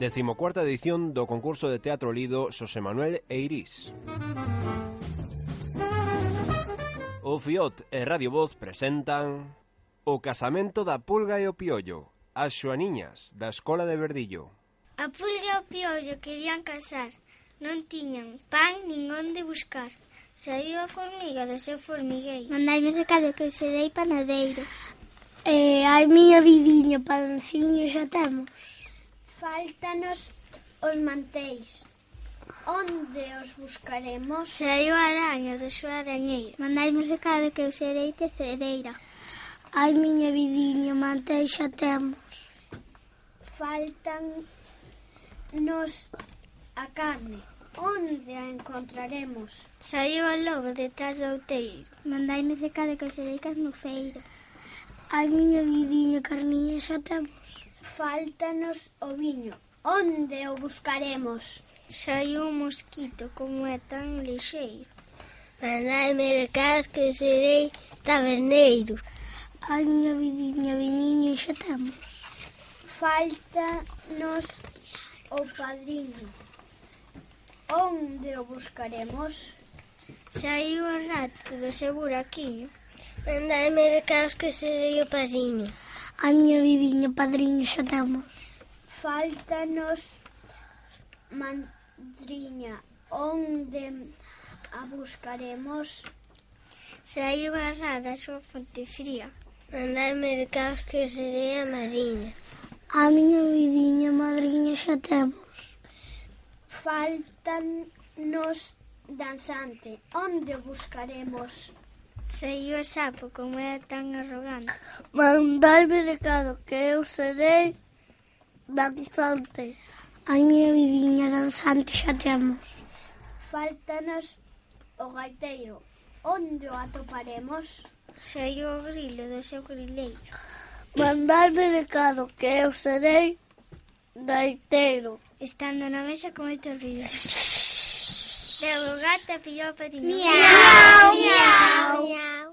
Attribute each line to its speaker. Speaker 1: Decimocuarta edición do concurso de teatro lido Xosé Manuel Eirís. O Fiot e Radio Voz presentan O casamento da pulga e o piollo, as xoaniñas da Escola de Verdillo.
Speaker 2: A pulga e o piollo querían casar. Non tiñan pan nin onde buscar. Saiu a formiga do seu formigueiro.
Speaker 3: Mandaime recado que eu serei panadeiro. E ai, miña vidiña, panciño xa temos. Faltanos os manteis. Onde os buscaremos?
Speaker 2: Saiu a araña do seu arañeiro.
Speaker 3: Mandaime recado que eu serei tecedeira. Ai, miña vidiña, manteis xa temos. Faltan nos a carne. Onde a encontraremos?
Speaker 2: Saiu o lobo detrás do outeiro.
Speaker 3: Mandaime recado que eu serei carnofeiro. Ai, miña vidiña, carniña xa temos. Faltanos o viño. Onde o buscaremos?
Speaker 2: Saiu un mosquito como é tan lixeiro. Mandaime recados que serei taberneiro.
Speaker 3: Ai, miña vidiña, viniño xa temos. Faltanos o padriño. Onde o buscaremos?
Speaker 2: Saiu o rato do seu buraquiño.
Speaker 3: Mandaime recados que serei o padriño. A miña vidiña, padriño, xa temos. Faltanos mandriña. Onde a buscaremos?
Speaker 2: Saiu a rá da súa fonte fría.
Speaker 3: Mandaime recados que serei a mariña. A miña vidiña, madriña, xa temos. Faltanos danzante. Onde o buscaremos?
Speaker 2: Saiu o sapo como é tan arrogante.
Speaker 3: Mandaime recado que eu serei danzante. A miña vidiña danzante xa temos. Faltanos o gaiteiro. Onde o atoparemos?
Speaker 2: Saiu o grilo do seu grileiro.
Speaker 3: Mandaime recado que eu serei gaiteiro.
Speaker 2: Estando na mesa con moito ruido. Deu o gato e pillou o padriño.
Speaker 3: Miau, miau,
Speaker 2: miau.